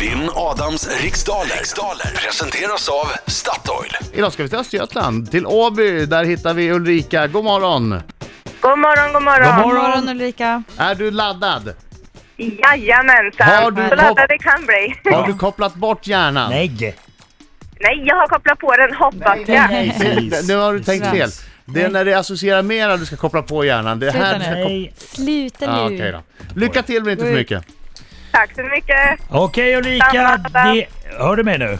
Vinn Adams riksdaler. riksdaler presenteras av Statoil. Idag ska vi till Östergötland, till Åby. Där hittar vi Ulrika. God morgon! God morgon, god morgon. God God morgon Ulrika. Är du laddad? Jajamensan. Har du Så hopp- laddad det kan bli. Har du kopplat bort hjärnan? Nej! Nej, jag har kopplat på den. Hoppas jag. Nej, det- Nu har du tänkt fel. Precis. Det är när det associerar mera du ska koppla på hjärnan. Det är här Sluta du ska nu. koppla... Nej. Sluta nu. Ah, okej då. Lycka till men inte för Oj. mycket. Tack så mycket. Okej Ulrika, det... Hör du mig nu?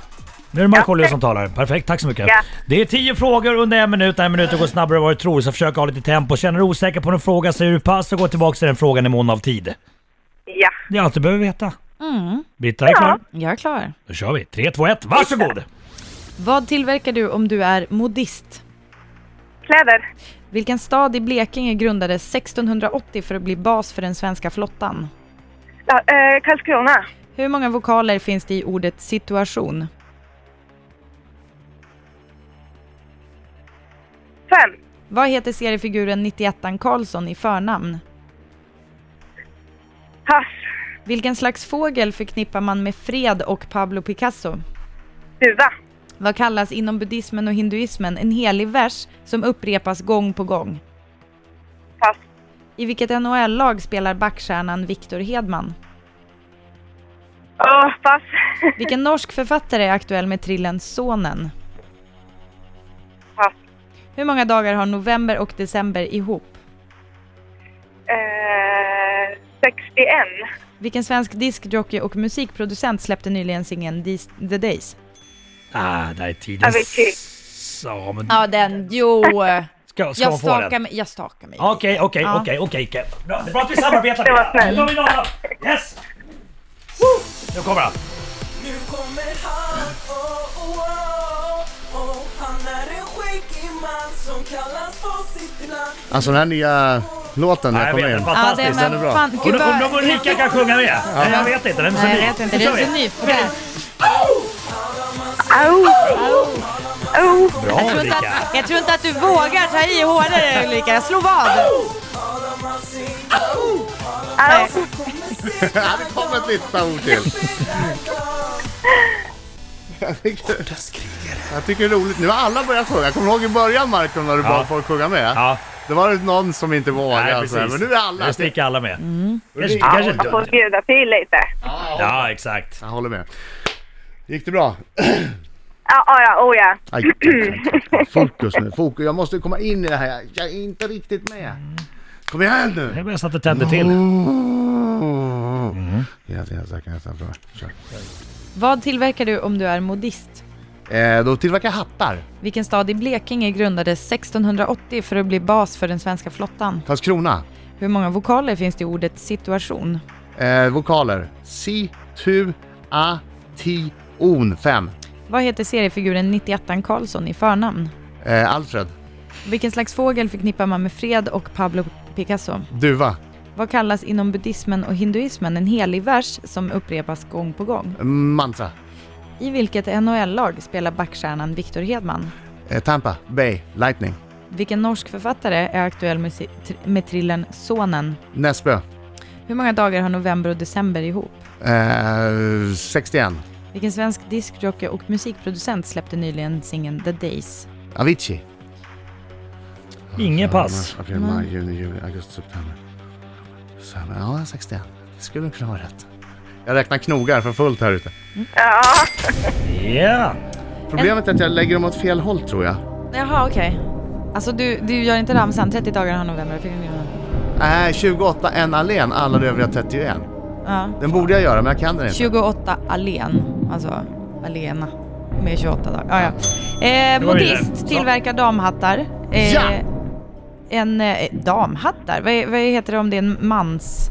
Nu är det Markoolio som talar. Perfekt, tack så mycket. Ja. Det är tio frågor under en minut. Den här minuten går snabbare än vad du tror, så försök ha lite tempo. Känner du osäker på en fråga säger du pass och går tillbaka till den frågan i mån av tid. Ja. Det är allt du behöver veta. Mm, Britta är klar. jag är klar. Då kör vi. 3, 2, 1, varsågod! Vad tillverkar du om du är modist? Kläder. Vilken stad i Blekinge grundades 1680 för att bli bas för den svenska flottan? La- eh, Karlskrona. Hur många vokaler finns det i ordet situation? Fem. Vad heter seriefiguren 91 Karlsson i förnamn? Pass. Vilken slags fågel förknippar man med fred och Pablo Picasso? Duva. Vad kallas inom buddhismen och hinduismen en helig vers som upprepas gång på gång? Pass. I vilket NHL-lag spelar backstjärnan Viktor Hedman? Åh, pass. Vilken norsk författare är aktuell med trillen Sonen? Pass. Hur många dagar har november och december ihop? Eh, 61. Vilken svensk diskjockey och musikproducent släppte nyligen singeln These- The Days? Ah, där är tiden. Avicii. Ja, men... Ja, den, jo! Ska, ska Jag man få den? stakar mig, jag stakar mig. Okej, okej, Ja. okej, okej. okej. Bra bra att vi samarbetar. Det var Britta. snällt. Nu har vi noll. Yes! Woo! Nu kommer han. Nu kommer han, oh, oh, oh, oh. Han är en skäggig man som kallas på sitt namn Alltså den här nya låten när Nej, jag jag kommer vet, in. den är fantastisk. men den är bra. Fan, Undrar gud undrar vad... om Ulrika kan sjunga med? Nej, jag vet inte, den är så Nej, ny. jag vet inte, Nu det kör är vi. så ny. Okej. Au. Au. Bra Jag tror, inte Ulrika. att, jag tror inte att du vågar ta i hårdare Ulrika, jag slår vad. Au. Ja, det kom ett litet ord till. Jag tycker, jag tycker det är roligt. Nu har alla börjat sjunga. Kommer du ihåg i början Marko när du Ja. bad folk sjunga med? Ja, Det var någon som inte vågade. nej, Alltså. Men precis. nu är alla. Nu sticker alla med. Mm. Kanske, Ulrika. kanske Jag inte. får bjuda till lite. Ja, exakt. Jag håller med. Gick det bra? Ja, ja, ja, oh ja. Aj, aj, aj. Fokus nu, fokus. Jag måste komma in i det här. Jag är inte riktigt med. Kom igen Det är nu! bäst att du tänder till. Mm. Ja, det är så här kan jag säga. Bra. Kör. Vad tillverkar du om du är modist? Eh, då tillverkar jag hattar. Vilken stad i Blekinge grundades 1680 för att bli bas för den svenska flottan? Karlskrona. Hur många vokaler finns det i ordet situation? Eh, vokaler. Si, tu, a, ti, on. Fem. Vad heter seriefiguren 91 Karlsson i förnamn? Eh, Alfred. Vilken slags fågel förknippar man med fred och Pablo Picasso? Duva. Vad kallas inom buddhismen och hinduismen en helig vers som upprepas gång på gång? Mantra. I vilket NHL-lag spelar backstjärnan Viktor Hedman? Eh, Tampa. Bay. Lightning. Vilken norsk författare är aktuell med, si- tr- med trillen Sonen? Näsbö. Hur många dagar har november och december ihop? Eh, 61. Vilken svensk diskjockey och musikproducent släppte nyligen singeln The Days? Avicii. Ingen pass. Mars, april, maj, juni, juli, augusti, september. Sen, ja, 61. Det skulle kunna vara rätt. Jag räknar knogar för fullt här ute. Ja. Ja. Problemet är att jag lägger dem åt fel håll tror jag. Jaha, okej. Alltså du, du gör inte ramsan, 30 dagar har november. Nej, 28 en allén, alla de övriga 31. Ja. Den borde jag göra, men jag kan den inte. 28 Alen, alltså Alena med 28 dagar. Ja, ja. Eh, Det var vidare. modist Ja. tillverkar damhattar. Eh, Ja! En eh, damhattar? Vad, är- vad heter det om det är en mans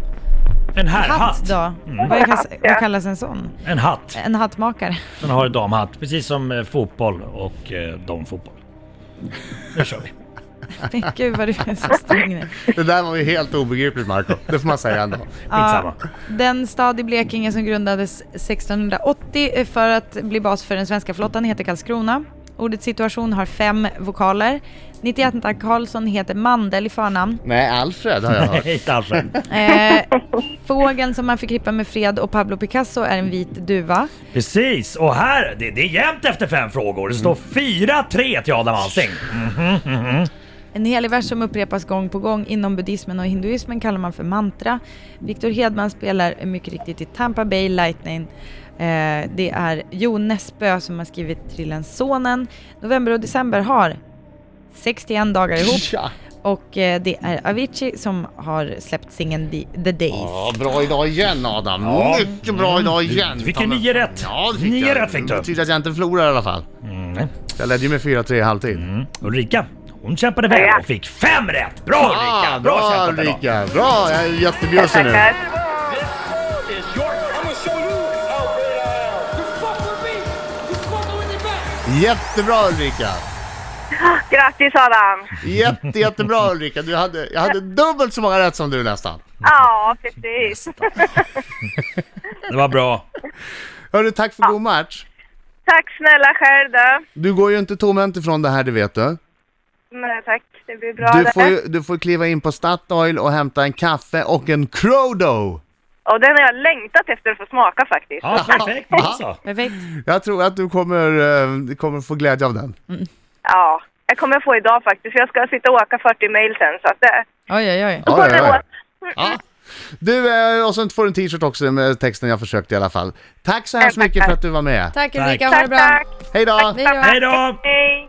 En herrhatt. hatt då? Mm. Vad, kallas, vad kallas en sån? En hatt. En hattmakare? Den har en damhatt. Precis som eh, fotboll och eh, damfotboll. Nu kör vi. Men Gud vad du är så sträng nu. Det där var ju helt obegripligt Marco. det får man säga ändå. Skitsamma. Den stad i Blekinge som grundades 1680 för att bli bas för den svenska flottan heter Karlskrona. Ordet situation har fem vokaler. 91 Karlsson heter Mandel i förnamn. Nej, Alfred har jag hört. Inte Alfred. Eh, fågeln som man förknippar med fred och Pablo Picasso är en vit duva. Precis, och här, det, det är jämnt efter fem frågor. Det står 4-3 till Adam Alsing. En helig vers som upprepas gång på gång inom buddhismen och hinduismen kallar man för mantra. Viktor Hedman spelar mycket riktigt i Tampa Bay Lightning. Eh, det är Jo Nesbø som har skrivit trillen Sonen. November och december har 61 dagar ihop Ja, och eh, det är Avicii som har släppt singeln The- The Days. Ja, bra idag igen Adam. Mycket bra idag igen. Du Mm. fick ju Ta mig- nio rätt. Ja, det fick Nio jag. rätt Mm, fick du. Det betyder att jag inte förlorar i alla fall. Jag ledde ju med 4-3 i halvtid. Ulrika, hon kämpade väl och fick fem rätt. Bra Ulrika! Bra Ah, bra kämpat idag. Ulrika! Bra! Jag är jättebjussig nu. Tackar. Jättebra Ulrika! Grattis Adam. Jätte, jättebra Ulrika! Du hade, jag hade dubbelt så många rätt som du nästan. Ja, precis. Det var bra. Hörru, tack för god match. Tack snälla själv då. Du går ju inte tomhänt ifrån det här, det vet du. Nej tack, det blir bra Du får, det. ju, du får kliva in på Statoil och hämta en kaffe och en Crodo. Och den har jag längtat efter att få smaka faktiskt. Ja, perfekt alltså. Perfekt. Jag tror att du kommer, eh, du kommer få glädje av den. Ja, jag kommer få idag faktiskt. Jag ska sitta och åka 40 mil sen så att det... Oj, oj, oj. Ja, ja, ja. åt. Ja. Du, eh, och så får du en t-shirt också med texten jag försökte i alla fall. Tack så hemskt Tack, mycket tack. för att du var med. Tack Ulrika, ha det Tack, bra. tack. Hej då! Hej då. Hej då! Hej.